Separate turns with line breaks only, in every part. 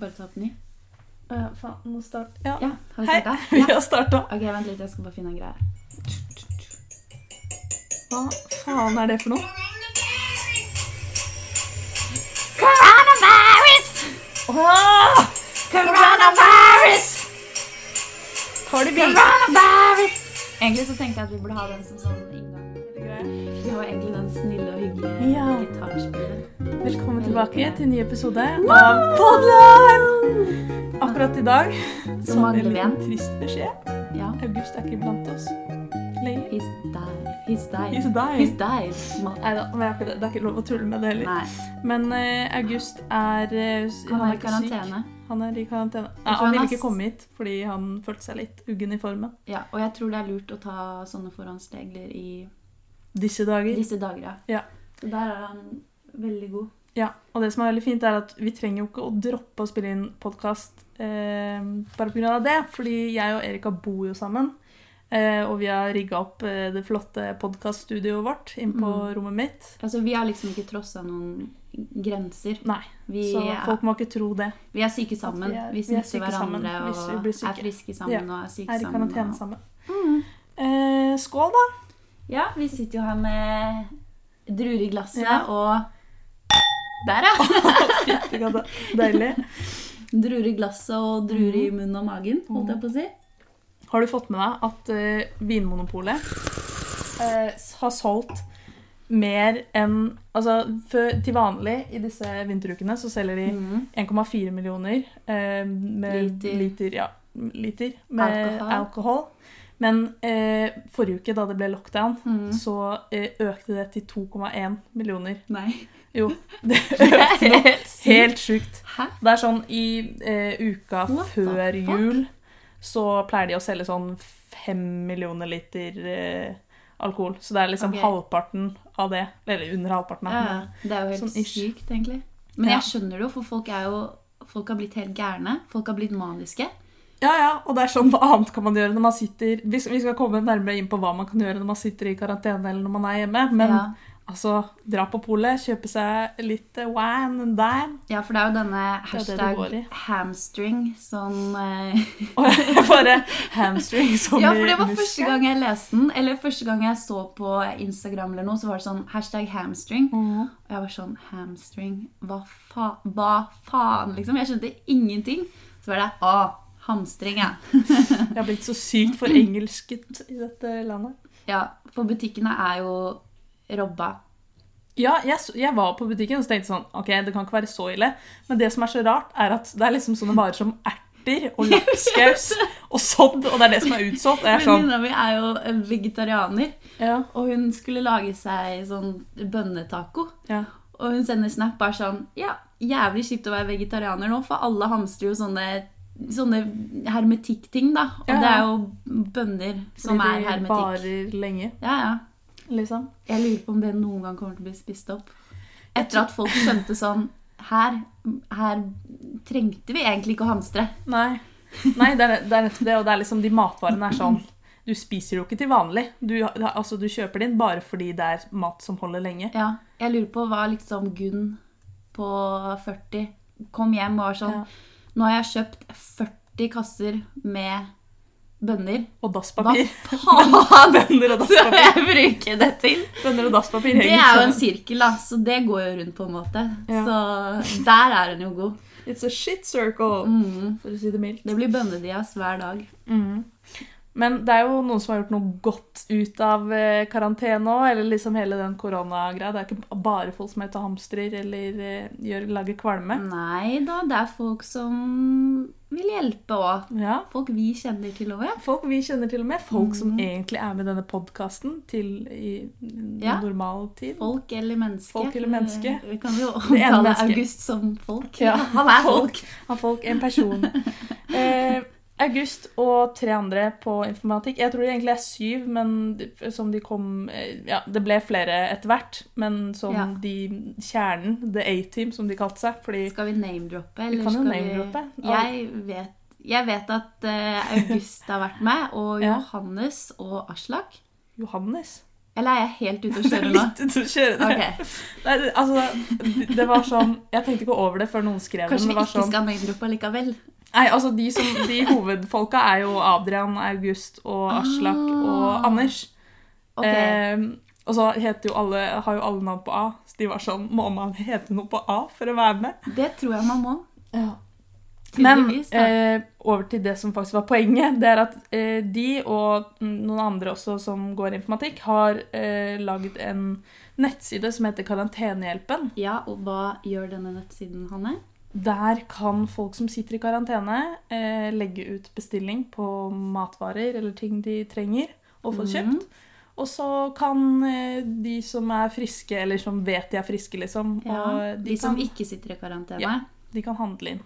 Bare ta på ny.
Ja, faen, nå start... Ja,
Ja, har vi
Hei.
starta?
vi
Ja.
har starta.
Ok, vent litt, jeg skal bare finne en greie.
Hva faen er det for noe?
Coronavirus!
Ah!
Coronavirus!
Tar det bil?
Coronavirus! Egentlig så tenkte jeg at vi burde ha den som sånn inngang. Vi har jo egentlig den snille og hyggelige
Ja.
gitarspillet.
Velkommen tilbake til en ny episode av Podline! Akkurat i dag
Så mangler
hadde
vi
jeg
en.
en trist beskjed.
Ja.
August er ikke blant oss lenger.
He's died. He's
He's
died.
dying.
He's died. Ma-
Neida, men jeg har ikke det. det er ikke lov å tulle med det heller.
Nei,
Men eh, August er eh, s-
han er i
ikke syk.
karantene.
Han er i karantene. Nei,
tror
han
han
ville
er
ikke
s-
komme hit fordi han følte seg litt uggen i formen
Ja, og jeg tror det er lurt å ta sånne forhåndsregler i
disse dager.
disse dager, ja.
Ja.
Så der er han veldig god.
Ja, og det som er veldig fint er at vi trenger jo ikke å droppe å spille inn podkast eh, bare pga. det, fordi jeg og Erika bor jo sammen. Eh, og vi har rigga opp eh, det flotte podkaststudioet vårt inn på
Mm.
rommet mitt.
Altså, vi har liksom ikke trossa noen grenser.
Nei,
Vi
så
er
folk må ikke tro det.
Vi er syke sammen.
At vi er-
Vi
vi er
smitter
syke
hverandre
sammen hvis vi
og
blir syke.
er friske sammen og er syke
Er i
sammen.
karantene
og-
sammen.
Mm.
Eh, skål, da!
Ja, vi sitter jo her med druer i glasset
Ja.
og Der, ja!
Det var Deilig.
Druer i glasset og druer i
Mm.
munnen og magen, holdt jeg på å si.
Har du fått med deg at eh, Vinmonopolet eh, har solgt mer enn Altså før, til vanlig i disse vinterukene så selger de
Mm.
1,4 millioner eh, med
Liter.
liter. ja, liter med
Alkohol.
alkohol. Men eh, forrige uke, da det ble lockdown,
Mm.
så eh, økte det til 2,1 millioner.
Nei.
Jo, det
Det er
økte nå.
helt sykt.
Helt sjukt.
Hæ?
Det er sånn i eh, uka
What the
før
fuck?
jul så pleier de å selge sånn 5 millioner liter eh, alkohol. Så det er liksom
Ok.
halvparten av det. Eller under halvparten. av
Ja,
det.
det er jo helt
Sånn ish.
sykt, egentlig. Men
Ja.
jeg skjønner det jo, for folk er jo Folk har blitt helt gærne. Folk har blitt maniske.
Ja, ja, og det er sånn, hva annet kan man gjøre når man sitter Vi skal, vi skal komme nærmere inn på hva man kan gjøre når man sitter i karantene eller når man er hjemme, men
ja.
altså, dra på polet, kjøpe seg litt eh, wine and dine.
ja, for det er jo denne
er det det
hashtag
går i.
hamstring som eh,
Og jeg bare hamstring som
Ja,
i
for det var
muskel.
første gang jeg leste den. Eller første gang jeg så på Instagram eller noe, så var det sånn hashtag hamstring.
Mhm.
Og jeg var sånn Hamstring? Hva, fa hva faen, liksom? Jeg skjønte ingenting. Så var det Å, hamstring, ja.
Jeg har blitt så sykt forengelsket i dette landet.
ja. For butikkene er jo robba.
Ja, jeg, så- jeg var på butikken og så tenkte jeg sånn Ok, det kan ikke være så ille. Men det som er så rart, er at det er liksom sånne varer som erter og lapskaus og sodd, og det er det som er utsolgt. Og jeg er sånn
Venninna mi er jo eh, vegetarianer,
ja,
og hun skulle lage seg sånn bønnetaco.
ja.
Og hun sender snap bare sånn Ja, jævlig kjipt å være vegetarianer nå, for alle hamstrer jo sånne Sånne hermetikkting, da. Og
Ja, ja.
det er jo bønner som
Fordi
er
de
hermetikk.
varer lenge,
Ja, ja.
liksom.
Jeg lurer på om det noen gang kommer til å bli spist opp. Etter at folk skjønte sånn Her, her trengte vi egentlig ikke å hamstre.
Nei, Nei det, er, det er nettopp det. Og det er liksom de matvarene er sånn Du spiser jo ikke til vanlig. Du, altså, du kjøper din bare fordi det er mat som holder lenge.
Ja, jeg lurer på hva liksom Gunn på 40 kom hjem og var sånn
Ja.
Nå har jeg kjøpt 40 kasser med bønner.
Og
Hva
dasspapir.
faen
Bønner og
skal
dasspapir.
jeg bruke det til?
Bønner og dasspapir
Det
henger
er jo en
sammen.
sirkel, da, så det går jo rundt på en måte.
Ja.
Så der er hun jo god.
It's a shit circle,
Mm.
for å si det mildt.
Det blir bønnedias hver dag.
Mm. Men det er jo noen som har gjort noe godt ut av eh, karantene òg, eller liksom hele den koronagreia. Det er ikke bare folk som heter hamstrer eller eh, gjør, lager kvalme.
Nei da, det er folk som vil hjelpe òg.
Ja.
Folk vi kjenner til òg, ja.
Folk vi kjenner til og med. Folk som egentlig er med denne podkasten til i
Ja.
normal tid.
Folk eller menneske. Eh,
Folk eller menneske.
Vi kan jo
Det ene
omtale
mennesket.
August som folk.
Ja,
Han er folk.
Av folk en person. eh, August og tre andre på informatikk. Jeg tror det egentlig er syv, men de- som de kom eh, Ja, det ble flere etter hvert, men som
Ja.
de Kjernen, The A-Team, som de kalte seg. Fordi
Skal vi name-droppe,
vi
eller
kan jo
skal vi
name-droppe. Ja,
Jeg vet, jeg vet at eh, August har vært med, og
Ja.
Johannes og Aslak.
Johannes.
Eller er jeg helt ute å
Det er
kjøre nå?
litt ut å kjøre det.
Ok,
Nei, det- altså, det- det var sånn Jeg tenkte ikke over det før noen skrev det.
Kanskje vi
Men det var
ikke
sånn
skal name-droppe likevel?
Nei, altså de, som, de hovedfolka er jo Adrian, August og Aslak og
Ah.
Anders.
Ok,
Eh, og så heter jo alle, har jo alle navn på A, så de var sånn Må man hete noe på A for å være med?
Det tror jeg man må.
Men
Tydeligvis. da.
eh, over til det som faktisk var poenget. Det er at eh, de og mm, noen andre også som går informatikk, har eh, laget en nettside som heter Karantenehjelpen.
Ja, og hva gjør denne nettsiden, Hanne?
Der kan folk som sitter i karantene, eh, legge ut bestilling på matvarer eller ting de trenger og
Mm.
få kjøpt. Og så kan eh, de som er friske, eller som vet de er friske, liksom
Ja, de,
og de, kan,
som Mm. ikke sitter i karantene.
Ja. de kan handle inn.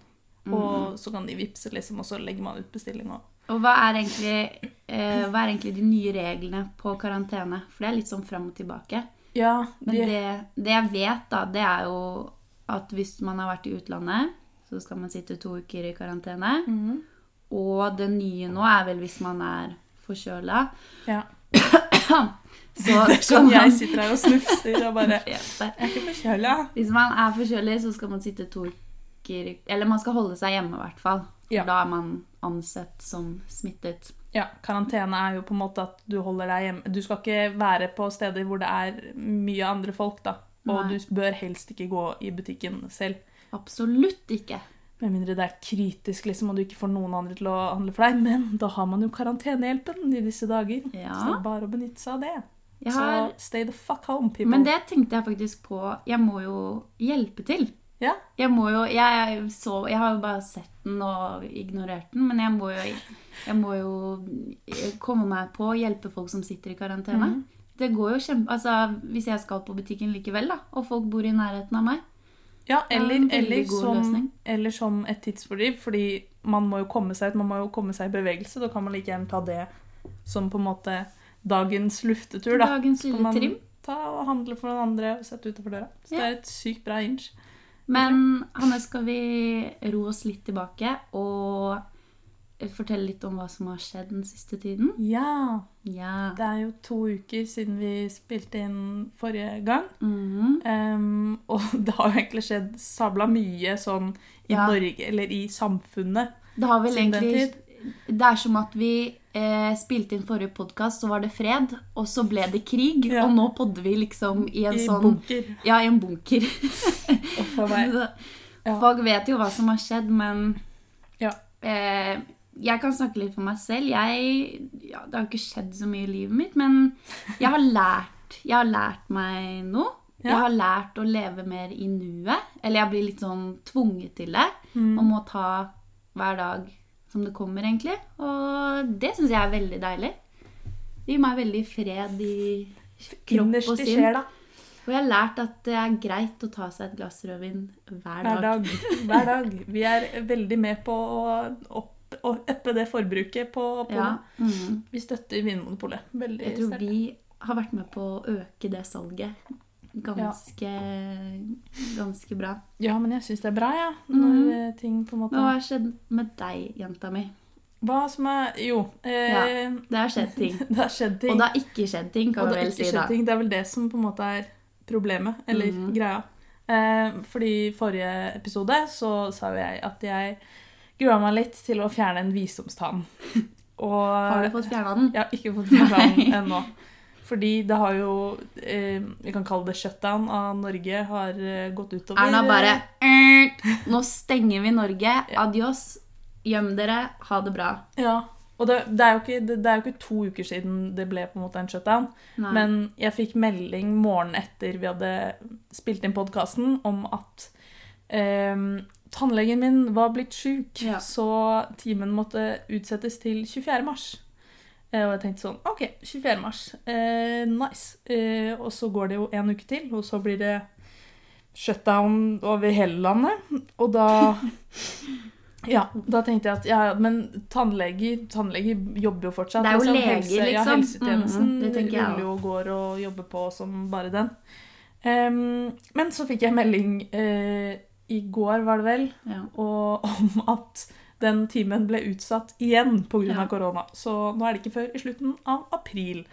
Og så kan de vippse, liksom, og så legger man ut bestilling. Og...
Og hva er, egentlig, eh, hva er egentlig de nye reglene på karantene? For det er litt sånn fram og tilbake.
Ja,
Men
de,
det, det jeg vet, da, det er jo at hvis man har vært i utlandet, så skal man sitte to uker i karantene.
Mhm.
Og det nye nå er vel hvis man er forkjøla.
ja.
Så
Det er
skal
sånn jeg
man
sitter her og snufser og bare Jeg
Fete.
er ikke forkjøla.
Hvis man er forkjølig, så skal man sitte to uker Eller man skal holde seg hjemme, i hvert fall. For
Ja.
Da er man ansett som smittet.
Ja, karantene er jo på en måte at du holder deg hjemme. Du skal ikke være på steder hvor det er mye andre folk, da. Og
Nei.
du bør helst ikke gå i butikken selv.
Absolutt ikke.
Med mindre det er kritisk, liksom, og du ikke får noen andre til å handle for deg. Men da har man jo karantenehjelpen i disse dager.
Ja.
Så det er bare å benytte seg av det.
Jeg har,
Så stay the fuck home, people.
men det tenkte jeg faktisk på. Jeg må jo hjelpe til.
Ja.
Jeg må jo jeg, så, jeg har jo bare sett den og ignorert den, men jeg må jo, jeg må jo komme meg på å hjelpe folk som sitter i karantene. Det går jo kjempe... Altså, hvis jeg skal på butikken likevel, da, og folk bor i nærheten av meg
Ja,
er en
eller,
veldig
eller,
god
som,
løsning.
eller som et tidsfordriv, fordi man må jo komme seg ut, man må jo komme seg i bevegelse. Da kan man like gjerne ta det som på en måte dagens luftetur, da.
Dagens
Så
lille
kan man
trim.
ta og handle for noen andre og sette utenfor døra. Så det
Ja.
er et sykt bra inch.
Men Hanne, skal vi ro oss litt tilbake og fortelle litt om hva som har skjedd den siste tiden?
Ja,
Ja.
det er jo to uker siden vi spilte inn forrige gang.
Mhm.
Ehm, og det har jo egentlig skjedd sabla mye sånn i
Ja.
Norge, eller i samfunnet.
Det har vel
Siden den
egentlig Det er som at vi eh, spilte inn forrige podkast, så var det fred, og så ble det krig,
Ja.
og nå podder vi liksom i en
I
sånn
bunker.
Ja, i en bunker.
Uff a meg.
Så
Ja.
Folk vet jo hva som har skjedd, men
Ja.
eh, jeg kan snakke litt for meg selv. Jeg, ja, det har jo ikke skjedd så mye i livet mitt, men jeg har lært, jeg har lært meg noe.
Ja.
Jeg har lært å leve mer i nuet. Eller jeg blir litt sånn tvunget til det.
Mm.
Og må ta hver dag som det kommer, egentlig. Og det syns jeg er veldig deilig. Det gir meg veldig fred i kropp og
Innerst i
sinn.
sjela.
Og jeg har lært at det er greit å ta seg et glass rødvin hver dag.
Hver dag. Hver dag. Vi er veldig med på å opp, å øppe det forbruket på polet.
Ja. Mm.
Vi støtter Vinmonopolet. Veldig
Jeg tror
sterkt.
vi har vært med på å øke det salget ganske, ganske bra.
Ja, men jeg syns det er bra, ja. Når
Mhm.
eh, ting på en måte
Men hva har skjedd med deg, jenta mi?
Hva som er Jo. Eh,
Ja. Det har skjedd ting.
Det har skjedd ting.
Og det har ikke skjedd ting, kan
Og
vi
det har
vel
ikke
si
skjedd
da.
ting. Det er vel det som på en måte er problemet, eller
Mhm.
greia. Eh, fordi i forrige episode så sa jo jeg at jeg grua meg litt til å fjerne en visdomstann. Og
Har du fått fjerna den?
Jeg har ikke fått shutdown ennå. Fordi det har jo eh, Vi kan kalle det shutdown av Norge har eh, gått utover
Erna bare
eh,
"Ernt, Nå stenger vi Norge. Adios. Gjem dere. Ha det bra.
Ja. Og det, det, er jo ikke, det, det er jo ikke to uker siden det ble på en måte en shutdown.
Nei.
Men jeg fikk melding morgenen etter vi hadde spilt inn podkasten, om at eh, tannlegen min var blitt sjuk,
Ja.
så timen måtte utsettes til 24. mars. Eh, og jeg tenkte sånn OK, 24. mars. Eh, nice. Eh, og så går det jo en uke til, og så blir det shutdown over hele landet. Og da Ja, da tenkte jeg at ja, ja, men tannleger, tannleger jobber jo fortsatt.
Det er jo leger,
Ja,
liksom.
helsetjenesten
Mhm, det tenker jeg
ruller jo og går og jobber på som bare den. Ehm, men så fikk jeg melding eh, i går, var det vel,
ja.
og, om at den timen ble utsatt igjen pga.
Ja.
korona. Så nå er det ikke før i slutten av april.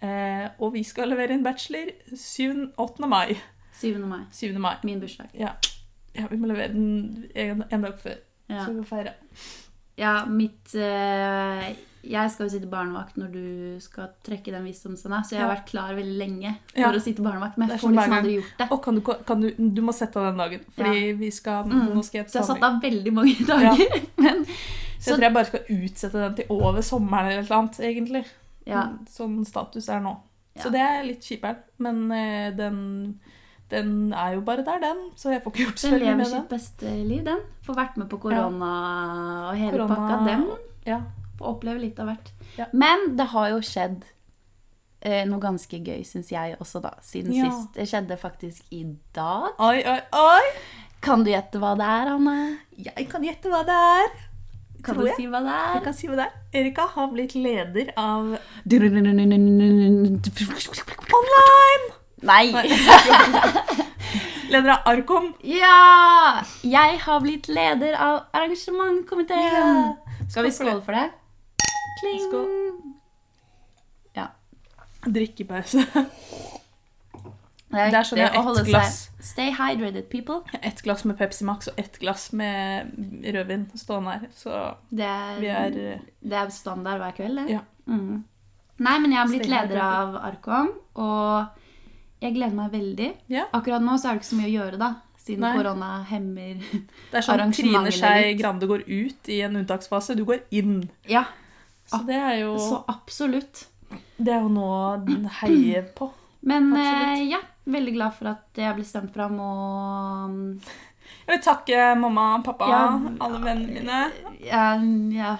Eh, og vi skal levere inn bachelor 7. 8. mai.
7. mai.
7. mai.
Min bursdag.
Ja, vi må levere den en, en dag før,
Ja,
så vi kan feire.
ja mitt eh, Jeg skal jo sitte barnevakt når du skal trekke den visdomsanda, så jeg har
Ja.
vært klar veldig lenge for
Ja.
å sitte barnevakt, men jeg
Det er
får
sånn
liksom
hver
aldri gjort det.
Og kan du, kan du, du må sette av den dagen, fordi vi skal
Mm.
Nå skal jeg
Så jeg har satt
samling.
av veldig mange dager. Men
Så jeg tror jeg bare skal utsette den til over sommeren eller et eller annet, egentlig.
ja,
Sånn status er nå.
Ja.
Så det er litt kjipere, men eh, den, den er jo bare der, den. Så jeg får ikke gjort så
den
veldig
lever
med den.
sitt beste liv, den. Får vært med på korona og hele
Korona-
pakka. Den
Ja.
Få oppleve litt av hvert.
Ja.
Men det har jo skjedd eh, noe ganske gøy, syns jeg også, da. Siden
Ja.
sist. Det skjedde faktisk i dag.
Oi, oi, oi!
Kan du gjette hva det er, Anne?
Jeg kan gjette hva det er.
Kan
Tror
du
jeg.
si hva det
Jeg
er?
kan si hva det er. Erika har blitt leder av Online!
Nei!
Leder av Arkom.
Ja! Jeg har blitt leder av arrangementkomiteen.
Ja.
Skal vi skåle for det? Kling!
Skål.
Ja.
Drikkepause.
Det er
Der skjønner
viktig å
jeg
holde seg
ett sånn glass.
Stay hydrated, people.
Ett glass med Pepsi Max og ett glass med rødvin stående her. Så
Det
vi
er,
er eh,
det er standard hver kveld, det.
Ja.
Mm. Nei, men jeg har blitt
Stay
leder
hydrated.
av Arkom, og jeg gleder meg veldig.
Ja.
Akkurat nå så er det ikke så mye å gjøre, da. Siden
Nei.
korona hemmer
Det er sånn Trine
Arrangementet
Skei
litt.
Grande går ut i en unntaksfase. Du går inn.
Ja,
Ah, Så det er jo,
så absolutt.
det er jo noe den heier på.
Men
Absolutt.
eh, ja, veldig glad for at jeg ble stemt fram, og mm,
Jeg vil takke mamma, pappa,
Ja.
alle vennene mine.
jeg, ja,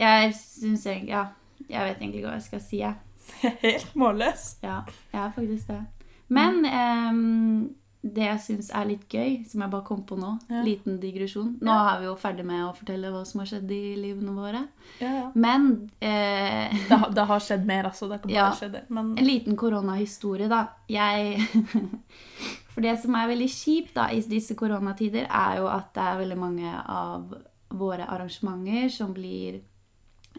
jeg syns egentlig Ja, jeg vet egentlig ikke hva jeg skal si, jeg.
Jeg er helt målløs.
Ja, jeg er faktisk det. Men
Mm.
ehm, det jeg syns er litt gøy, som jeg bare kom på nå,
Ja.
liten digresjon Nå
Ja.
er vi jo ferdig med å fortelle hva som har skjedd i livene våre.
Ja, ja.
Men eh,
Det, har- det har skjedd mer, altså. Det kan bare
Ja.
skje det. Men
En liten koronahistorie, da. Jeg For det som er veldig kjipt da, i disse koronatider, er jo at det er veldig mange av våre arrangementer som blir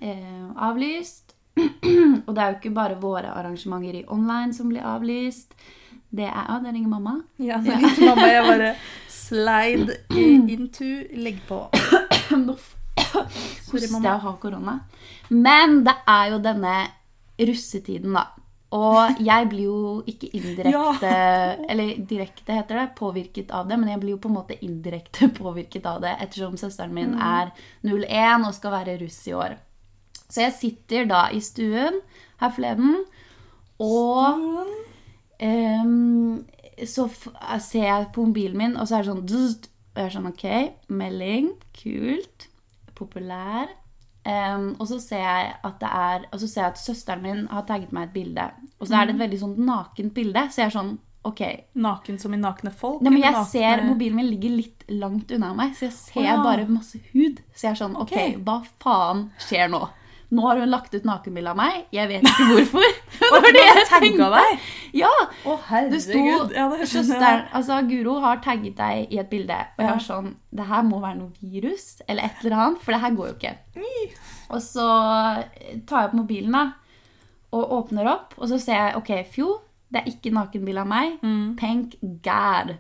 eh, avlyst. Og det er jo ikke bare våre arrangementer i online som blir avlyst. Det er Ja, det ringer mamma.
ja, så litt mamma, jeg bare Mm. slide into, legg på. Sorry,
Koste
mamma.
deg å ha korona. Men det er jo denne russetiden, da. Og jeg blir jo ikke indirekte Eller direkte, heter det. Påvirket av det. Men jeg blir jo på en måte indirekte påvirket av det ettersom søsteren min
Mm.
er 01 og skal være russ i år. Så jeg sitter da i stuen her forleden og Ehm, så f ser jeg på mobilen min, og så er det sånn dzzt, Og jeg er sånn OK, melding. Kult. Populær. Ehm, og så ser jeg at det er Og så ser jeg at søsteren min har tagget meg et bilde. Og så er
Mhm.
det et veldig sånn nakent bilde, så jeg er sånn OK.
Naken som i nakne folk?
Nei, men
eller
jeg ser
nakne-
Mobilen min ligger litt langt unna meg, så jeg ser
Å, ja.
bare masse hud. Så jeg er sånn OK,
Ok.
hva faen skjer nå? Nå har hun lagt ut nakenbilde av meg. Jeg vet ikke hvorfor.
Å,
Fordi
hun har
jeg
tagget
tenkte-
deg?
Ja,
Å, herregud.
det sto
ja, det skjønner jeg.
søsteren, altså Guro har tagget deg i et bilde, og jeg
Ja.
var sånn Det her må være noe virus eller et eller annet, for det her går jo ikke.
Ni.
Og så eh, tar jeg opp mobilen da, og åpner opp, og så ser jeg OK, fjo, det er ikke nakenbilde av meg.
Mm.
Thank God.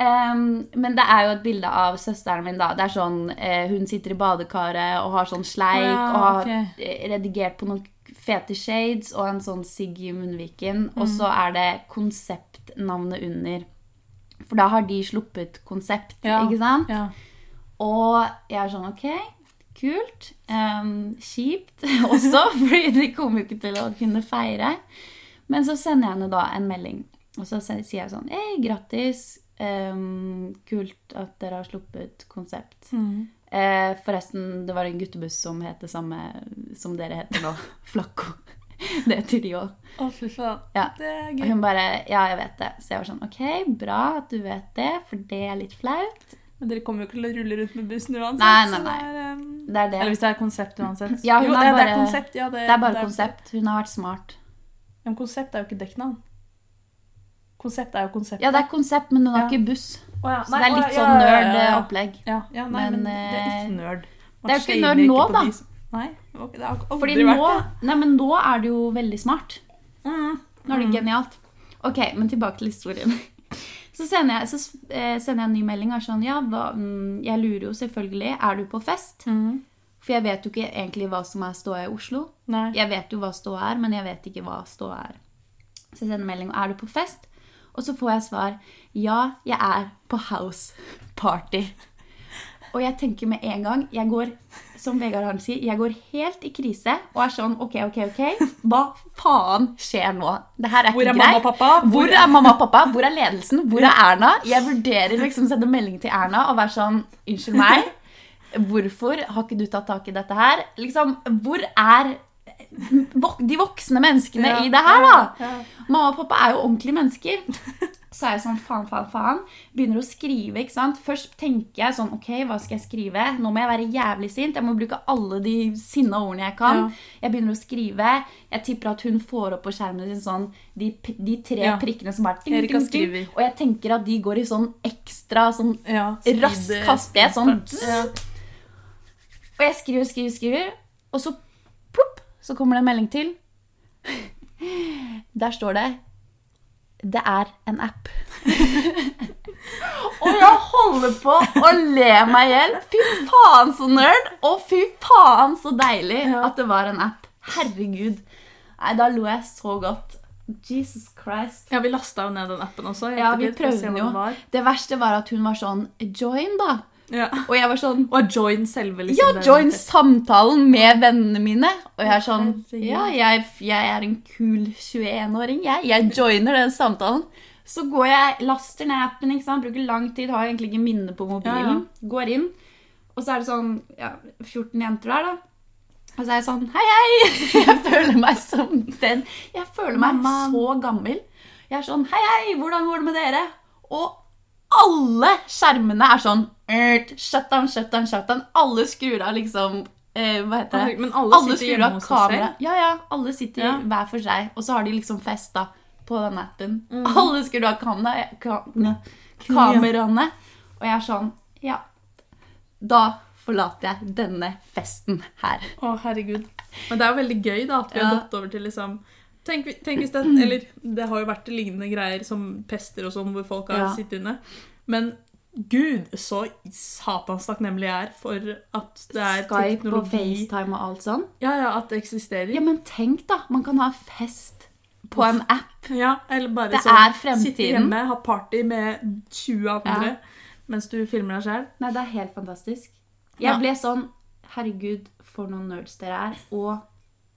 Em, men det er jo et bilde av søsteren min. da. Det er sånn, eh, Hun sitter i badekaret og har sånn sleik
Ja,
og har
ok.
eh, redigert på noen fete shades og en sånn sigg i munnviken.
Mm.
Og så er det konseptnavnet under. For da har de sluppet konsept,
Ja.
ikke sant?
Ja.
Og jeg er sånn OK, kult. ehm, kjipt også, fordi de kommer jo ikke til å kunne feire. Men så sender jeg henne da en melding, og så se- sier jeg sånn Hei, grattis. ehm, kult at dere har sluppet konsept.
Mm.
Eh, forresten, det var en guttebuss som het det samme som dere heter nå. Flakko. Det heter de òg.
Å, fy faen.
Ja.
Det er
Og
gøy.
hun bare Ja, jeg vet det. Så jeg var sånn OK, bra at du vet det, for det er litt flaut.
Men dere kommer jo ikke til å rulle rundt med bussen uansett.
Nei, nei,
så
nei.
det er, um,
Det er det.
Eller hvis det er konsept uansett.
Ja, hun
jo,
er
det, det
bare-
er konsept. Ja, det,
Det er bare konsept. Hun har vært smart.
Men konsept er jo ikke dekknavn. Konsept er jo konsept.
Ja, det er konsept, men hun har
Ja.
ikke buss.
Å, ja.
Så
Nei,
det er
å,
litt
ja,
sånn
ja, ja, ja, ja.
nerd-opplegg.
Ja, ja, nei, men,
Men, eh,
det er ikke nerd. Man
det er jo ikke
shamer
nerd nå,
på
da.
de som- Nei, det var ikke- det har aldri
Fordi
vært
nå,
det.
nei, men nå er det jo veldig smart.
Mm.
Nå er det genialt. Ok, men tilbake til historien. Så sender jeg, så eh, sender jeg en ny melding og er sånn Ja, hva, mm, jeg lurer jo selvfølgelig. Er du på fest?
Mm.
For jeg vet jo ikke egentlig hva som er ståa i Oslo.
Nei.
Jeg vet jo hva ståa er, men jeg vet ikke hva ståa er. Så jeg sender melding er du på fest? Og så får jeg svar ja, jeg er på house party. Og jeg tenker med en gang jeg går, Som Vegard Harm sier, jeg går helt i krise og er sånn OK, OK, OK. Hva faen skjer nå? Det her er
Hvor
ikke
er
greit.
mamma og pappa?
Hvor er mamma og pappa? Hvor er ledelsen? Hvor er Erna? Jeg vurderer liksom å sende melding til Erna og være sånn Unnskyld meg. Hvorfor har ikke du tatt tak i dette her? Liksom, hvor er vok de voksne menneskene
Ja,
i det her, da?
ja, ja.
Mamma og pappa er jo ordentlige mennesker. Så er jeg sånn faen, faen, faen. Begynner å skrive. ikke sant? Først tenker jeg sånn OK, hva skal jeg skrive? Nå må jeg være jævlig sint. Jeg må bruke alle de sinna ordene jeg kan.
Ja.
Jeg begynner å skrive. Jeg tipper at hun får opp på skjermen sin sånn de, p- de tre
Ja.
prikkene som er ting,
Erika
ting, ting.
skriver.
Og jeg tenker at de går i sånn ekstra sånn
Mm. Ja, speed-
rask hastighet. Sånn
Ja.
og jeg skriver, skriver, skriver, og så plopp, så kommer det en melding til. Der står det 'Det er en app'. og jeg holder på å le meg i hjel. Fy faen så nerd, og fy faen så deilig at det var en app. Herregud. Nei, da lo jeg så godt. Jesus Christ.
Ja, vi lasta jo ned den appen også. i
Ja, vi
ettertid for å se
prøvde den
hva
jo.
den var.
Det verste var at hun var sånn 'join', da.
Ja.
Og jeg var sånn
Og join selve, liksom.
Ja,
den-
join samtalen med vennene mine. Og jeg er sånn
Herregud.
Ja, jeg, jeg er en kul 21-åring, jeg. Jeg joiner den samtalen. Så går jeg, laster ned appen, ikke sant? bruker lang tid, har egentlig ikke minne på mobilen. Går inn, og så er det sånn ja, 14 jenter der, da. Og så er jeg sånn Hei, hei! Jeg føler meg som den Jeg føler meg
Mamma.
så gammel. Jeg er sånn Hei, hei! Hvordan går det med dere? Og alle skjermene er sånn «Ert, Shut down, shut down, shut down. Alle skrur av liksom eh, Hva heter det?
Men alle,
Alle
sitter
skrur
hjemme
av
hos seg
kamera.
selv.
Ja, ja. Alle sitter
Ja.
hver for seg. Og så har de liksom fest, da. På den appen.
Mm.
Alle skrur av kamera, ka, ne, kameraene. Og jeg er sånn Ja. Da forlater jeg denne festen her.
Å, herregud. Men det er jo veldig gøy da, at vi har
Ja. Mm.
gått over til liksom Tenk, vi- tenk hvis det, eller, det har jo vært lignende greier som pester og sånn, hvor folk har
Ja.
sittet inne. Men gud, så satans takknemlig jeg er for at det er
Skype og
teknologi
FaceTime og alt sånn.
Ja, ja, at det eksisterer.
Ja, men tenk da, man kan ha fest på en app.
Ja, eller bare
Det
sånn,
er fremtiden.
Sitte hjemme, ha party med 20 andre
Ja.
mens du filmer deg sjøl.
Nei, det er helt fantastisk.
Ja.
Jeg ble sånn, herregud, for noen nerds dere er, og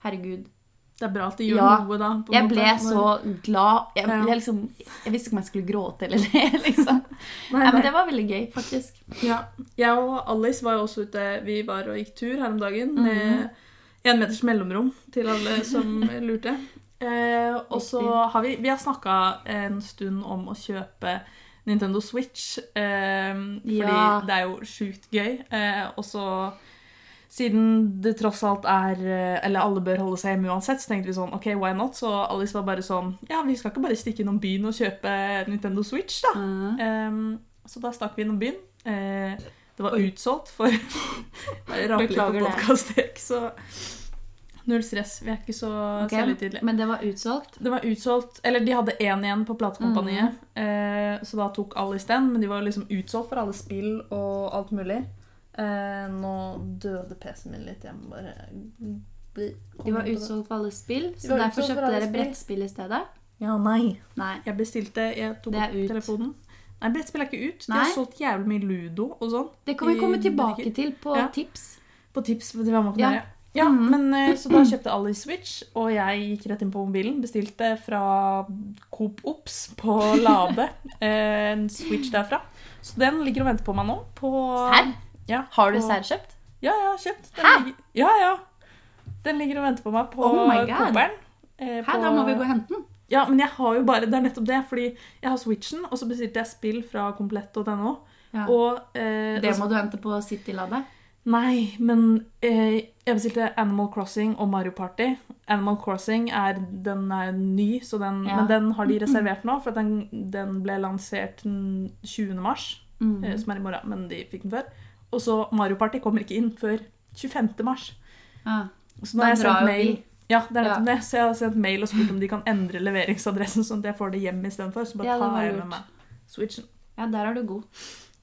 herregud.
Det er bra at de gjør
Ja.
noe, da. på en
Jeg
måte,
ble
når-
så glad. Jeg,
Ja.
ble liksom, jeg visste ikke om jeg skulle gråte eller le, liksom.
Nei,
Nei,
nei.
men det var veldig gøy, faktisk.
Ja. Jeg og Alice var jo også ute Vi var og gikk tur her om dagen med en meters mellomrom til alle som lurte. Eh, og så har vi Vi har snakka en stund om å kjøpe Nintendo Switch, eh, fordi
Ja.
det er jo sjukt gøy. Eh, og så siden det tross alt er eh, Eller alle bør holde seg hjemme uansett, så tenkte vi sånn OK, why not? Så Alice var bare sånn Ja, vi skal ikke bare stikke innom byen og kjøpe Nintendo Switch, da. Ehm, så da stakk vi innom byen. Eh, det var utsolgt for Jeg raper litt på
Beklager det.
podkastek, så null stress. Vi er ikke så
Ok,
selvhøytidelige.
Men det var utsolgt.
Det var utsolgt Eller de hadde én igjen på platekompaniet,
Mm.
eh, så da tok Alice den. Men de var liksom utsolgt for alle spill og alt mulig. Eh, nå døde PC-en min litt. Jeg må bare
De var utsolgt for alle spill,
De
så
var
derfor
utsolgt for
kjøpte
alle
dere
spill.
brettspill i stedet.
Ja, nei.
Nei.
Jeg bestilte Jeg tok
Det er
opp
ut.
telefonen. Nei, brettspill er ikke ut. De
Nei.
har solgt jævlig mye Ludo og sånn.
Det kan vi
I
komme tilbake
butikker.
til på
Ja.
tips.
På tips til hva man kan
Ja.
gjøre. Ja,
Mm.
men eh, Så da kjøpte Alice Switch, og jeg gikk rett inn på mobilen. Bestilte fra Coop Ops på Lade eh, en Switch derfra. Så den ligger og venter på meg nå. På,
Serr?
Ja,
Har du
på-
serr kjøpt?
Ja, jeg har kjøpt. Den
Hæ?
Ligger, ja, ja. Den ligger og venter på meg på
Oh my God.
Cooperen. eh,
Hæ,
på-
da må vi gå og hente den.
Ja, men jeg har jo bare Det er nettopp det. Fordi jeg har Switchen, og så bestilte jeg spill fra komplett.no.
Ja.
Og eh,
Det må du hente på City-ladet.
Nei, men eh, jeg bestilte Animal Crossing og Mario Party. Animal Crossing er, den er ny, så den,
Ja.
men den har de reservert nå. For at den, den ble lansert den 20. mars,
Mm. Mhm.
eh, som er i morgen, men de fikk den før. Og så Mario Party kommer ikke inn før 25. mars.
Ah,
Så nå har
Da
jeg sendt
drar jo
mail.
vi.
Ja, det er
Ja.
nettopp det. Så jeg har sendt mail og spurt om de kan endre leveringsadressen, sånn at jeg får det hjem istedenfor. Så bare
Ja, det var
tar jeg med
lurt.
meg switchen.
ja, der er du god.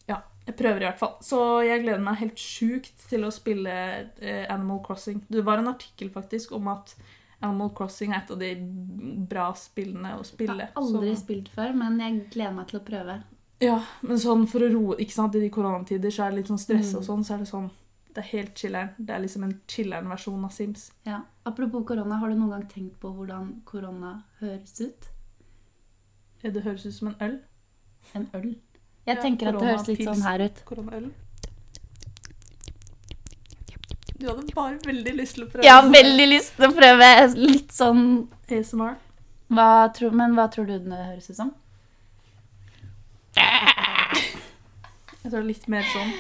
Ja, jeg prøver i hvert fall. Så jeg gleder meg helt sjukt til å spille eh, Animal Crossing. Det var en artikkel faktisk om at Animal Crossing er et av de bra spillene å
Jeg
spille.
har aldri
Så,
spilt før, men jeg gleder meg til å prøve.
ja, men sånn for å roe Ikke sant, i de koronatider så er det litt sånn stress og sånn, så er det sånn Det er helt chiller'n. Det er liksom en chiller'n-versjon av Sims.
Ja. Apropos korona, har du noen gang tenkt på hvordan korona høres ut?
Eh, Det høres ut som en øl.
En øl? Jeg
Ja,
tenker at det høres litt
koronapils.
sånn her ut.
Koronaøl. Du hadde bare veldig lyst til å prøve
Jeg har veldig lyst til å prøve litt sånn
ASMR.
hva tror, Men hva tror du den høres ut som?
Jeg tror det er litt mer sånn,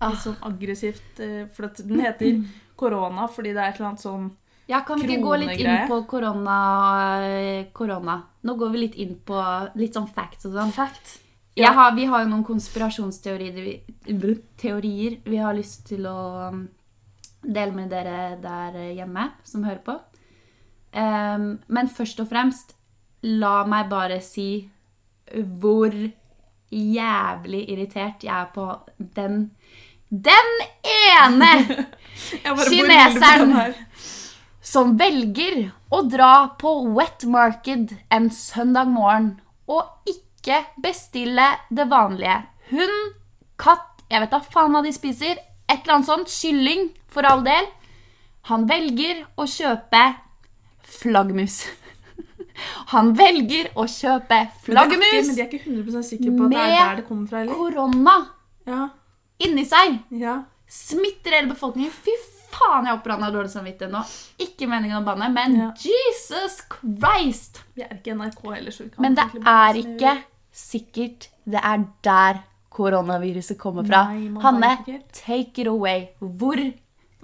Ah.
litt sånn aggressivt. eh, For at den heter korona fordi det er et eller annet sånn
Ja, kan vi ikke gå litt inn
Kronegreie.
på korona, eh, korona? Nå går vi litt inn på litt sånn facts og sånn.
Fact.
Jeg har, vi har jo noen konspirasjonsteorier vi, blup, teorier vi har lyst til å um, dele med dere der hjemme som hører på. Ehm, men først og fremst, la meg bare si hvor jævlig irritert jeg er på den Den ene Kineseren.
sånn
som velger å dra på wet market en søndag morgen og ikke bestille det vanlige. Hund, katt, jeg vet da faen hva de spiser. Et eller annet sånt. Kylling, for all del. Han velger å kjøpe flaggermus. Han velger å kjøpe
Flaggermus! Men
flaggermus
de er ikke 100 sikre på at det er
Med-
der det kommer fra heller.
korona
Ja.
inni seg.
ja.
Smitter hele befolkningen. Fy faen, jeg er opprann av dårlig samvittighet nå. Ikke meningen å banne, men
Ja.
Jesus Christ!
Vi er ikke NRK heller, så vi kan
Men det
egentlig bare
er
snu.
ikke sikkert det er der koronaviruset kommer fra.
Nei, man
Hanne,
vet ikke helt.
take it away. Hvor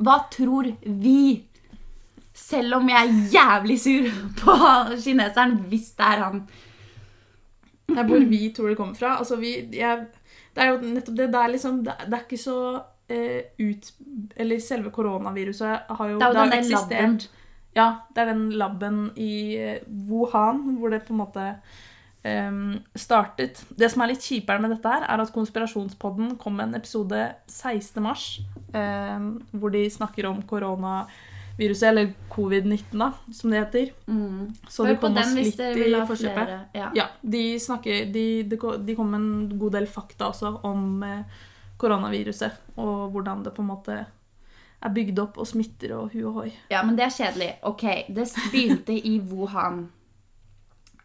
Hva tror vi? Selv om jeg er jævlig sur på kineseren, hvis det er han.
Det er hvor vi tror det kommer fra. Altså, vi, jeg, det er jo nettopp det. Det er, liksom, det, det er ikke så eh, ut... Eller selve koronaviruset har jo,
Det er jo den
har
der labben.
Ja, det er den labben i eh, Wuhan hvor det på en måte eh, startet. Det som er litt kjipere med dette her, er at Konspirasjonspodden kom med en episode 16. mars, eh, hvor de snakker om koronaviruset, eller covid-19 da, som det heter.
Mm.
Så
Hør
det
på
kom oss
den hvis
litt
dere
i
vil ha
forkjøpet.
flere. Ja.
Ja, de, snakker, de, de, ko- de kom med en god del fakta også om eh, koronaviruset. Og hvordan det på en måte er bygd opp og smitter og hu og hoi.
Ja, men det er kjedelig. Ok, det begynte i Wuhan.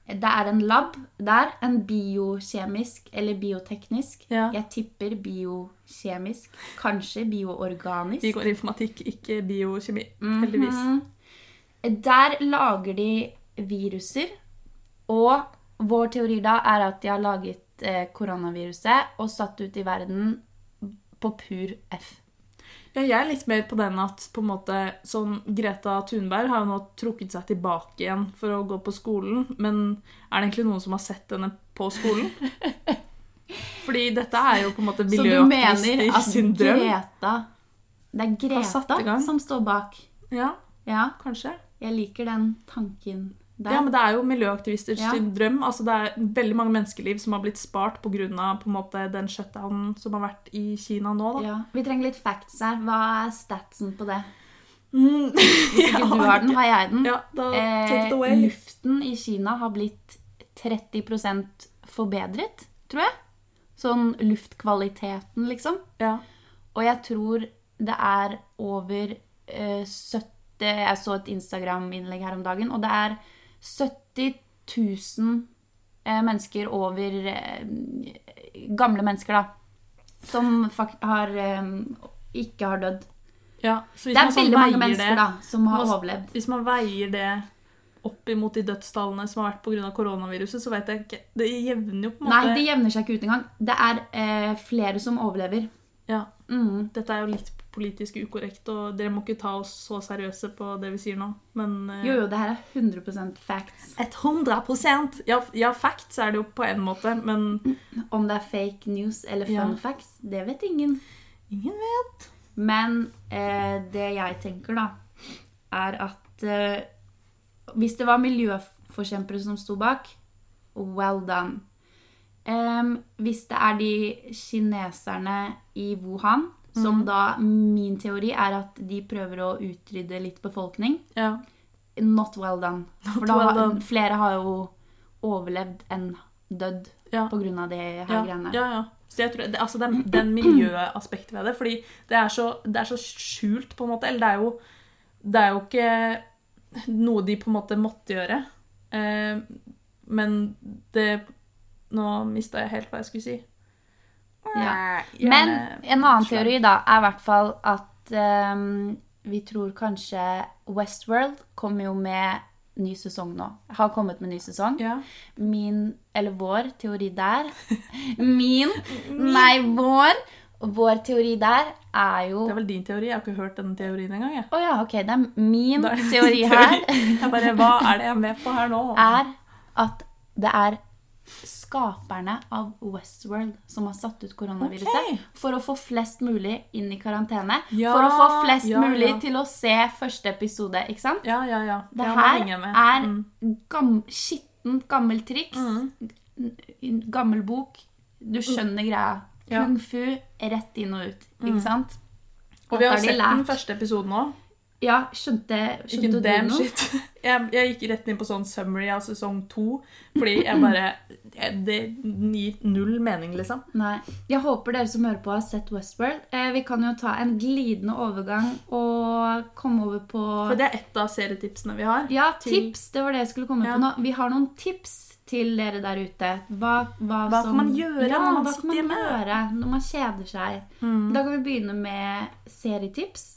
Det er en lab der, en biokjemisk eller bioteknisk.
Ja.
Jeg tipper biokjemisk, kanskje
Vi
bioorganisk.
går informatikk, ikke biokjemi, heldigvis.
Mhm. Der lager de viruser, og vår teori da er at de har laget eh, koronaviruset og satt ut i verden på pur F.
Ja, jeg er litt mer på den at på en måte, sånn Greta Thunberg har jo nå trukket seg tilbake igjen for å gå på skolen. Men er det egentlig noen som har sett henne på skolen? Fordi dette er jo på en måte
Så du mener
miljøaktivister
at
sin drøm.
Greta Det er
satt i
Greta
gang.
som står bak.
Ja,
Ja,
kanskje.
jeg liker den tanken der.
Ja, men det er jo miljøaktivister
Ja.
sin drøm. Altså, det er veldig mange menneskeliv som har blitt spart pga. den shutdownen som har vært i Kina nå. Da.
Ja, Vi trenger litt facts her. Hva er statsen på det?
Mm.
Hvis ikke du har den, har jeg den.
Ja, da take
Eh,
it away.
luften i Kina har blitt 30 forbedret, tror jeg. Sånn luftkvaliteten, liksom.
Ja.
Og jeg tror det er over eh, 70 Jeg så et Instagram-innlegg her om dagen, og det er 70 000 eh, mennesker over eh, Gamle mennesker, da. Som fak har eh, ikke har dødd.
Ja. Så
Det
hvis man
er
sånn
veldig mange
veier
mennesker
det,
da, som har
Må-
overlevd.
Hvis man veier det opp imot de dødstallene som har vært pga. koronaviruset, så vet jeg ikke Det jevner jo på en
Nei,
måte
det jevner seg ikke ut engang. Det er eh, flere som overlever.
ja.
Mm.
Dette er jo litt politisk ukorrekt, og dere må ikke ta oss så seriøse på det vi sier nå, men eh,
Jo, jo, det her er 100 facts.
Et 100 ja, ja, facts er det jo på en måte, men
Om det er fake news eller fun
Ja.
facts, det vet ingen.
ingen vet.
Men eh, det jeg tenker, da, er at eh, hvis det var miljøforkjempere som sto bak, well done. Em, hvis det er de kineserne i Wuhan,
Mm.
som da min teori er at de prøver å utrydde litt befolkning,
Ja.
not well done. For da,
well
har-
done.
flere har jo overlevd enn dødd
Ja.
på grunn av de her
Ja,
greiene.
ja, ja. Så jeg tror, det, altså den, den miljøaspektet ved det, fordi det er, så, det er så skjult, på en måte. Eller det er jo, det er jo ikke noe de på en måte måtte gjøre. Eh, men det Nå mista jeg helt hva jeg skulle si. Eh,
Ja.
Jeg-
Men en annen
Slag.
teori da, er i hvert fall at ehm, vi tror kanskje Westworld kommer jo med ny sesong nå. Har kommet med ny sesong.
ja.
Min, eller vår, teori der Min, nei, vår. Vår teori der er jo
Det er
Å
vel din teori? Jeg har ikke hørt denne teorien engang. Jeg.
ja, OK. Det er min
Da er det
Mm, teori
din
her
Jeg bare, Hva er det jeg er med på her nå?
er at det er skaperne av Westworld som har satt ut koronaviruset
Ok.
for å få flest mulig inn i karantene.
Ja,
for å få flest
ja,
mulig
ja.
til å se første episode, ikke sant?
Ja, ja, ja.
Det
Ja, nå
her
henger jeg med.
er
Mm.
gam skittent, gammelt triks. Gammel bok. Du skjønner greia.
Mm. Ja. Mm.
Kung fu rett inn og ut, ikke sant?
Og vi
Dette
har
de
sett
lært.
den første episoden òg.
Ja, skjønte,
Ikke
skjønte du
damn
noe?
shit. Jeg, jeg gikk rett inn på sånn summary av sesong to, fordi jeg bare jeg- Det gir null mening, liksom.
Nei. Jeg håper dere som hører på, har sett Westworld. Eh, vi kan jo ta en glidende overgang og komme over på
For det er ett av serietipsene vi har.
Ja,
til-
tips! Det var det jeg skulle komme
Ja.
på nå. Vi har noen tips til dere der ute. Hva, hva,
Hva kan
som,
man gjøre
ja,
når man
hva
sitter
kan man
hjemme? Mm.
gjøre når man kjeder seg? Da kan vi begynne med serietips.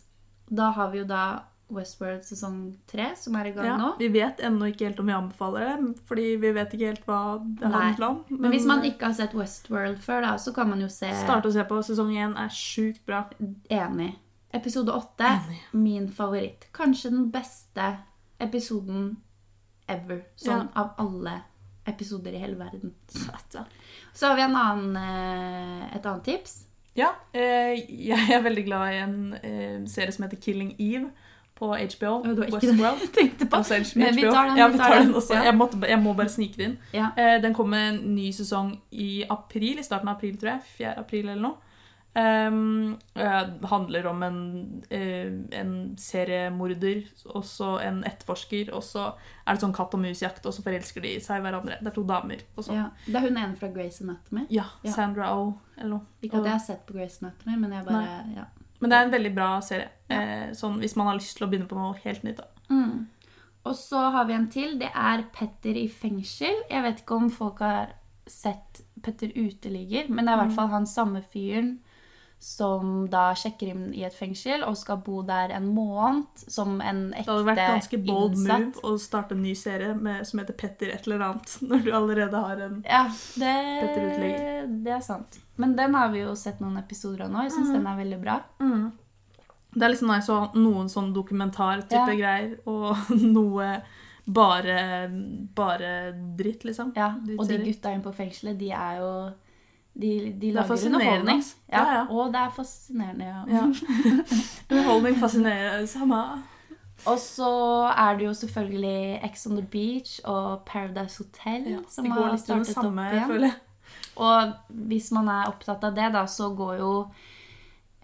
Da har vi jo da Westworld sesong tre, som er i gang nå.
Ja, vi vet ennå ikke helt om vi anbefaler det, fordi vi vet ikke helt hva det
Nei.
handler om. eh,
Men hvis man ikke har sett Westworld før, da, så kan man jo se
Start å se på. Sesong én er sjukt bra.
Enig. Episode åtte, min favoritt. Kanskje den beste episoden ever. Sånn av alle episoder i hele verden.
Satan.
Så har vi en annen, eh, et annet tips.
Ja, eh, jeg er veldig glad i en eh, serie som heter Killing Eve på HBO.
Å, det var ikke den
Westworld.
jeg tenkte på.
Også HBO.
Men vi tar den,
ja,
vi
vi
tar
tar
den.
den også.
Ja.
Jeg, måtte, jeg må bare snike det inn.
Ja.
Eh, Den kom med en ny sesong i april, i starten av april, tror jeg. 4. april eller noe. Um, eh, handler om en, eh, en seriemorder, også en etterforsker, og så er det sånn katt og mus-jakt, og så forelsker de seg i hverandre. Det er to damer. Og så. Ja.
Ja. Det er hun ene fra Grace Anatomy. Ja.
Sandra O, eller noe.
Ikke at jeg har sett på Grace Anatomy, men jeg bare ja.
Men det er en veldig bra serie. Eh, sånn, hvis man har lyst til å begynne på noe helt nytt. Da.
mm. Og så har vi en til. Det er Petter i fengsel. Jeg vet ikke om folk har sett Petter uteligger, men det er i
Mm.
hvert fall han samme fyren som da sjekker inn i et fengsel og skal bo der en måned som en
Det
ekte
hadde vært ganske bold
innsatt.
move å starte en ny serie med, som heter Petter et eller annet, når du allerede har en
Ja,
Petter
det,
uteligger. Mm.
det er sant. Men den har vi jo sett noen episoder av nå. Jeg syns den er veldig bra.
Det er liksom når jeg så noen sånn dokumentar-type
Ja.
greier, og noe bare, bare dritt, liksom.
Ja, og de
Drittserier.
gutta inne på fengselet, de er jo De, de
er
lager
fascinerende,
underholdning.
ass.
Ja,
Ja, ja.
Og det er fascinerende. Ja.
Ja. Underholdning fascinerer. eh, Samme.
Og så er det jo selvfølgelig Ex on the Beach og Paradise Hotel
Ja,
som
det går
har
litt under
startet
samme,
opp igjen.
føler jeg.
Og hvis man er opptatt av det, da, så går jo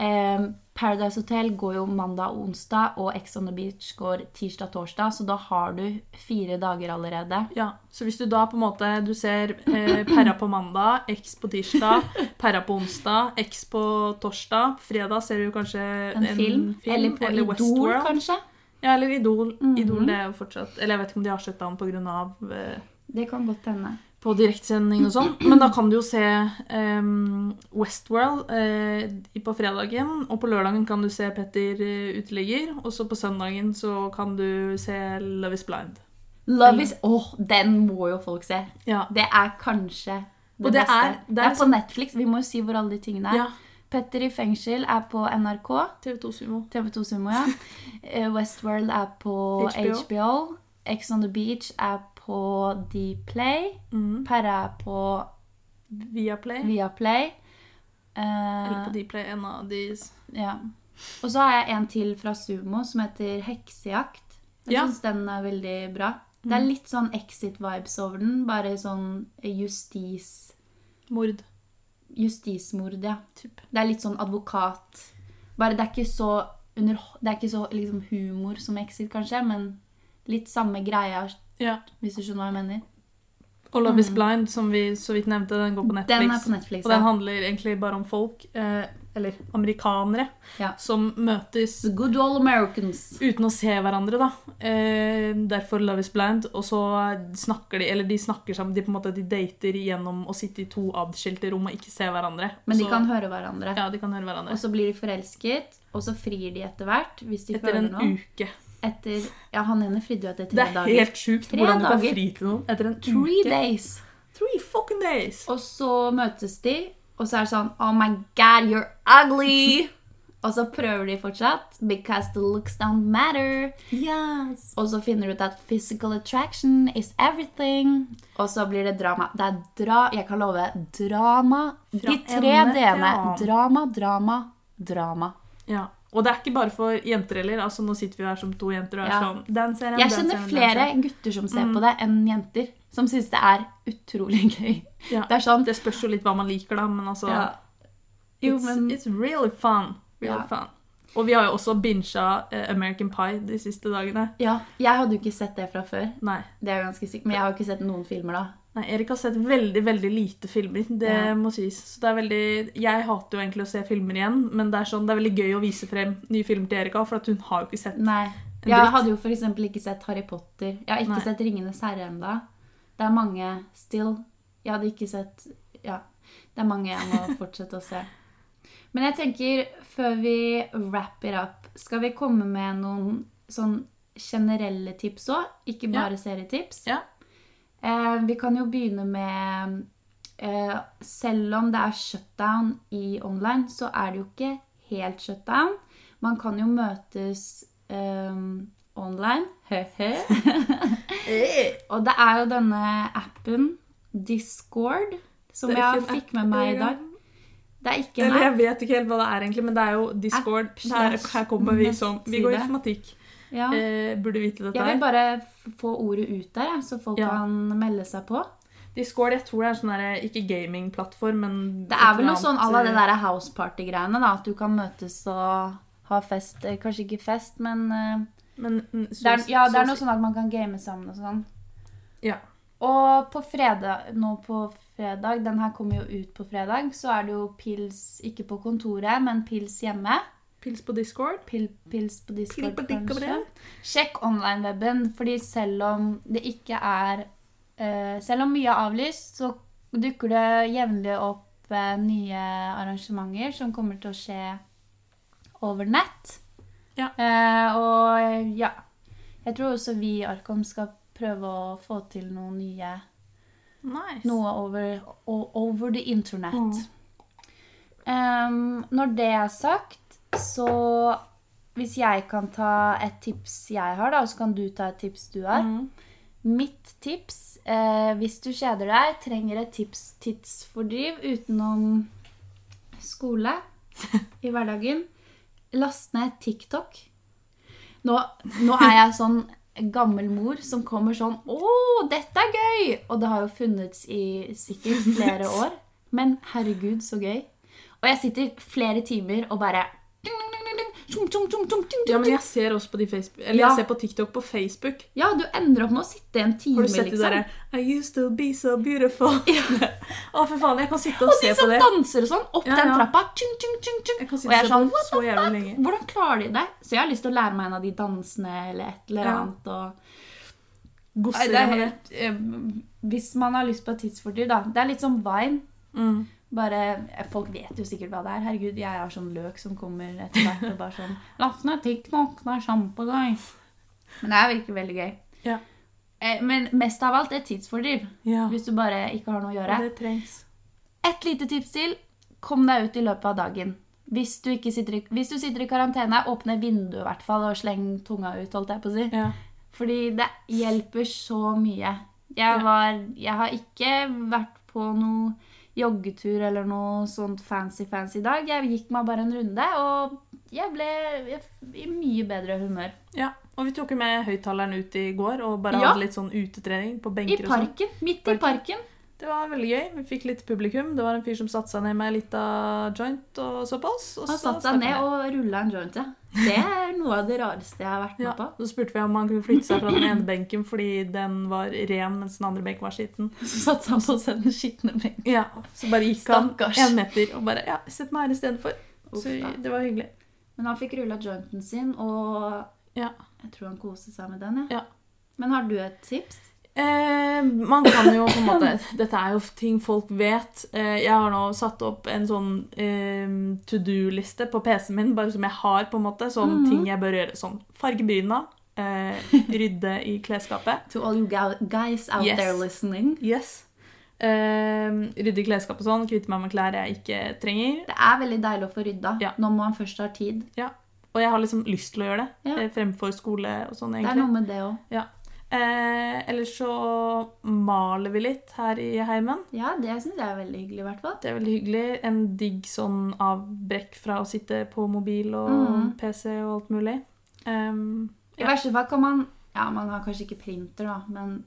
eh, Paradise Hotel går jo mandag og onsdag, og Ex on the Beach går tirsdag-torsdag, så da har du fire dager allerede.
Ja, Så hvis du da på en måte du ser eh, Perra på mandag, X på tirsdag, Perra på onsdag, X på torsdag Fredag ser du kanskje
En, film, Eller på Idol,
Westworld.
kanskje.
Ja, eller Idol. Idol det er jo fortsatt Eller jeg vet ikke om de har sett den pga. Eh,
Det kan godt hende.
på direktesending og sånn. Men da kan du jo se ehm, Westworld eh, i- på fredagen, og på lørdagen kan du se Petter eh, uteligger, og så på søndagen så kan du se Love is Blind.
Love is Åh, den må jo folk se.
Ja.
Det er kanskje det,
Og det
beste.
er- det er
det er på
liksom-
Netflix. Vi må jo si hvor alle de tingene er.
ja.
Petter i fengsel er på NRK.
TV2 Sumo.
TV2 Sumo, ja. Eh, Westworld er på
HBO.
HBO. Ex on the Beach er på Dplay.
Mm.
Perra er på
Viaplay.
Viaplay. Eh,
Eller på Dplay, en av de s-
ja. Og så har jeg en til fra Sumo som heter Heksejakt. Jeg
Ja. Mm.
syns den er veldig bra. Det er litt sånn Exit-vibes over den. Bare sånn justis...
Mord.
Justismord, ja.
Typ.
Det er litt sånn advokat. Bare det er ikke så, under, det er ikke så liksom, humor som Exit, kanskje, men litt samme greia,
Ja.
hvis du skjønner hva jeg mener.
Og Love is Blind, som vi så vidt nevnte, den går på Netflix.
Den er på Netflix.
Og den
Ja.
handler egentlig bare om folk, eh, eller amerikanere,
Ja.
som møtes
The Good All Americans.
uten å se hverandre, da. Eh, derfor Love is Blind. Og så snakker de, eller de snakker sammen, de på en måte de dater gjennom å sitte i to adskilte rom og ikke se hverandre.
Men de
Så-
kan høre hverandre.
Ja, de kan høre hverandre.
Og så blir de forelsket, og så frir de etter hvert. Hvis de
Etter
føler
en
noe.
uke.
Etter, ja, han ene fridde jo etter
Det
tre
er
dager.
helt sjukt
Tre
hvordan du kan
dager.
fri til noen etter en
Three
uke.
days. Oh,
Three fucking days!
Og så møtes de, og så er det sånn Oh my god, you're ugly! og så prøver de fortsatt. Because the looks don't matter.
Yes!
Og så finner du ut at physical attraction is everything. Og så blir det drama. Det er dra... Jeg kan love drama. De tre
ende til
d-ene.
annen.
Drama, drama, drama.
Ja. Og det er ikke bare for jenter heller. Altså, nå sitter vi her som to jenter og er
Ja.
sånn Den serien,
Jeg
den
kjenner
serien, den
flere
serien.
gutter som ser på det, enn jenter. Som syns det er utrolig gøy.
Ja.
Det er sånn
Det spørs jo litt hva man liker, da, men altså
ja. Jo,
it's,
men
it's really fun. Really
Ja.
fun. Og vi har jo også bincha eh, American Pie de siste dagene.
Ja, jeg hadde jo ikke sett det fra før.
Nei.
Det er jo ganske sikkert. Men jeg har jo ikke sett noen filmer da.
Nei, Erik har sett veldig veldig lite filmer. Det
Ja.
må sies. Så det er veldig... Jeg hater jo egentlig å se filmer igjen, men det er sånn, det er veldig gøy å vise frem nye filmer til Erika, for at hun har jo ikke sett
Nei.
En
Jeg
dritt.
hadde jo for eksempel ikke sett Harry Potter. Jeg har ikke
Nei.
sett Ringenes herre ennå. Det er mange still. Jeg hadde ikke sett Ja. Det er mange jeg må fortsette å se. Men jeg tenker, før vi wrap it up, skal vi komme med noen sånn generelle tips òg? Ikke
Ja.
bare serietips.
Ja.
Eh, vi kan jo begynne med eh, Selv om det er shutdown i online, så er det jo ikke helt shutdown. Man kan jo møtes eh, online. Høhø.
Eh,
Og det er jo denne appen Discord som
Det er
jeg
ikke en
fikk
app,
med meg i
Erika.
dag. Det er ikke en
Eller
app.
jeg vet ikke helt hva det er, egentlig, men det er jo Discord.
App
Her,
slash
her kommer vi som Vi går
nettside.
informatikk.
Ja.
Eh, burde vite dette
Jeg
her.
vil bare f- få ordet ut der, jeg, så folk
Ja.
kan melde seg på.
Discord, jeg tror det er sånn der, ikke gaming-plattform, men
Det er vel noe sånn à la
eh,
det der houseparty-greiene, da. At du kan møtes og ha fest. Eh, Kanskje ikke fest, men eh,
Men, mm, så-
det er, Ja, det
så-
er noe sånn at man kan game sammen og sånn.
Ja.
Og på fredag, nå på fredag, den her kommer jo ut på fredag, så er det jo pils ikke på kontoret, men pils hjemme.
Pils på Discord.
Pil, pils på Discord,
Pil på Discord,
kanskje.
ja.
Sjekk online-weben, fordi selv om det ikke er eh, Selv om mye er avlyst, så dukker det jevnlig opp eh, nye arrangementer som kommer til å skje over nett.
Ja.
Eh, og eh, ja Jeg tror også vi i Arkom skal prøve å få til noen nye
Nice.
noe over, o- over the internet.
Mm.
Em, når det er sagt, så hvis jeg kan ta et tips jeg har, da, og så kan du ta et tips du har.
Mm.
Mitt tips, eh, hvis du kjeder deg, trenger et tips tidsfordriv utenom skole i hverdagen, last ned TikTok. Nå, nå er jeg sånn gammel mor som kommer sånn 'Å, dette er gøy!' Og det har jo funnets i sikkert flere år. Men herregud, så gøy. Og jeg sitter flere timer og bare
Ja, men jeg ser også på de Facebook Eller
Ja.
jeg ser på TikTok på Facebook.
Ja, du ender opp med å sitte en time,
Har du sett de
liksom.
derre I used to be so beautiful. Å, for faen. Jeg kan sitte og,
Og de
se på
som
det.
danser og sånn, opp
Ja,
den
ja.
trappa. Tjung, tjung, tjung, tjung.
Jeg kan sitte
Og jeg er
og se på
sånn
det så jævlig lenge.
Hvordan klarer de det? Så jeg har lyst til å lære meg en av de dansene eller et eller
Ja.
annet. Og... Nei,
Gosser
det er
med det.
helt, eh, hvis man har lyst på tidsfordriv, da. Det er litt som Vine.
Mm.
Bare, eh, folk vet jo sikkert hva det er. Herregud, jeg har sånn løk som kommer etter hvert. og bare sånn, Last ned TikTok, det er sjampo, guys. Men det her virker veldig gøy.
Ja.
Eh, Men mest av alt er tidsfordriv.
Ja.
Hvis du bare ikke har noe å gjøre.
Det trengs.
Et lite tips til. Kom deg ut i løpet av dagen. Hvis du, ikke sitter, i, hvis du sitter i karantene, åpne vinduet i hvert fall, og sleng tunga ut. holdt jeg på å si.
Ja.
Fordi det hjelper så mye.
Ja.
Jeg, var, jeg har ikke vært på noe joggetur eller noe sånt fancy-fancy i dag. Jeg gikk meg bare en runde og jeg ble jeg, i mye bedre humør.
Ja, og vi tok jo med høyttaleren ut i går og bare
Ja.
hadde litt sånn utetrening på
I
benker og sånn.
parken. Midt i parken.
Det var veldig gøy. Vi fikk litt publikum. Det var en fyr som satte seg ned med ei lita joint og så på oss. Og
Han
så
satte seg
snakket
ned
han.
og rulla en joint. ja. Det er noe av det rareste jeg har vært med
ja,
på.
Så spurte vi om han kunne flytte seg fra den ene benken fordi den var ren, mens den andre benken var skitten.
Så satte han på seg den skitne benken.
Ja, Så bare gikk han
Stakkars.
en meter og bare Ja, sett meg her istedenfor.
Uff
Så
da.
det var hyggelig.
Men han fikk rulla jointen sin, og
Ja.
jeg tror han koste seg med den.
Ja.
Men har du et tips?
Eh, man kan jo på en måte Dette er jo ting folk vet. Eh, jeg har nå satt opp en sånn eh, to do-liste på PC-en min, bare som jeg har, på en måte. Sånn
Mhm.
ting jeg bør gjøre. Sånn farge bryna, eh, rydde i klesskapet.
To all you ga- guys out
Yes.
there listening.
Yes. Eh, rydde i klesskapet og sånn. Kvitte meg med klær jeg ikke trenger.
Det er veldig deilig å få rydda
Ja.
når man først har tid.
Og jeg har liksom lyst til å gjøre det,
Ja.
eh, fremfor skole og sånn,
Det er
egentlig.
noe med det òg.
Eh, ellers så maler vi litt her i heimen.
Ja, det syns jeg er veldig hyggelig, i hvert fall.
Det er veldig hyggelig. En digg sånn avbrekk fra å sitte på mobil og
Mhm.
PC og alt mulig. Ehm,
I
Ja.
verste fall kan man Ja, man har kanskje ikke printer, da, men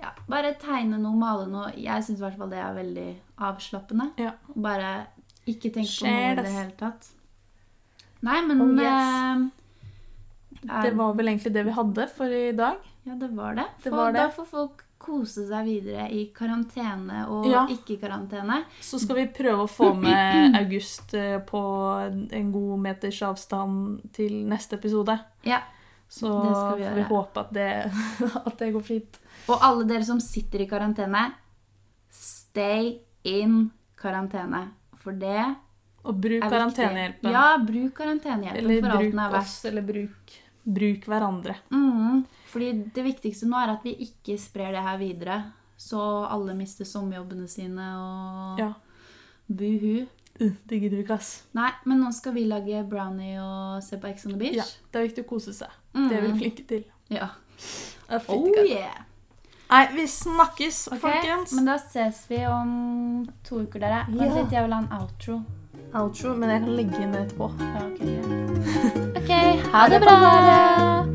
ja, bare tegne noe, male noe. Jeg syns i hvert fall det er veldig avslappende.
Ja.
Bare ikke tenke på noe i det
Sjæles.
hele tatt. Nei, men
Oh,
eh, er-
det var vel egentlig det vi hadde for i dag.
Ja, det var det.
Det
For
var det.
Da får folk kose seg videre i karantene og
Ja.
ikke-karantene.
Så skal vi prøve å få med August eh, på en god meters avstand til neste episode.
Ja.
Så
Det skal vi
får vi
gjøre.
håpe at det, at det går fint.
Og alle dere som sitter i karantene, stay in karantene. For det
Og bruk
er viktig.
karantenehjelpen.
Ja, bruk karantenehjelpen
eller
for alt den er
bruk
verdt.
oss, eller bruk, bruk hverandre.
Mm, fordi det viktigste nå er at vi ikke sprer det her videre. Så alle mister sommerjobbene sine og
Ja.
buhu.
Uh, det gidder vi ikke, ass.
Nei, men nå skal vi lage brownie og se på Ex on the Beach.
Ja, det er viktig å kose seg.
Mm.
Det er vi flinke til.
Ja.
Ja, fytti
Oh
katta.
yeah!
Nei, vi snakkes,
Ok,
folkens.
Men da ses vi om to uker, dere. Vent
Ja.
litt, jeg vil ha en outro.
Outro, men jeg kan legge inn det etterpå.
Ja, ok, greit. ok, ha det bra!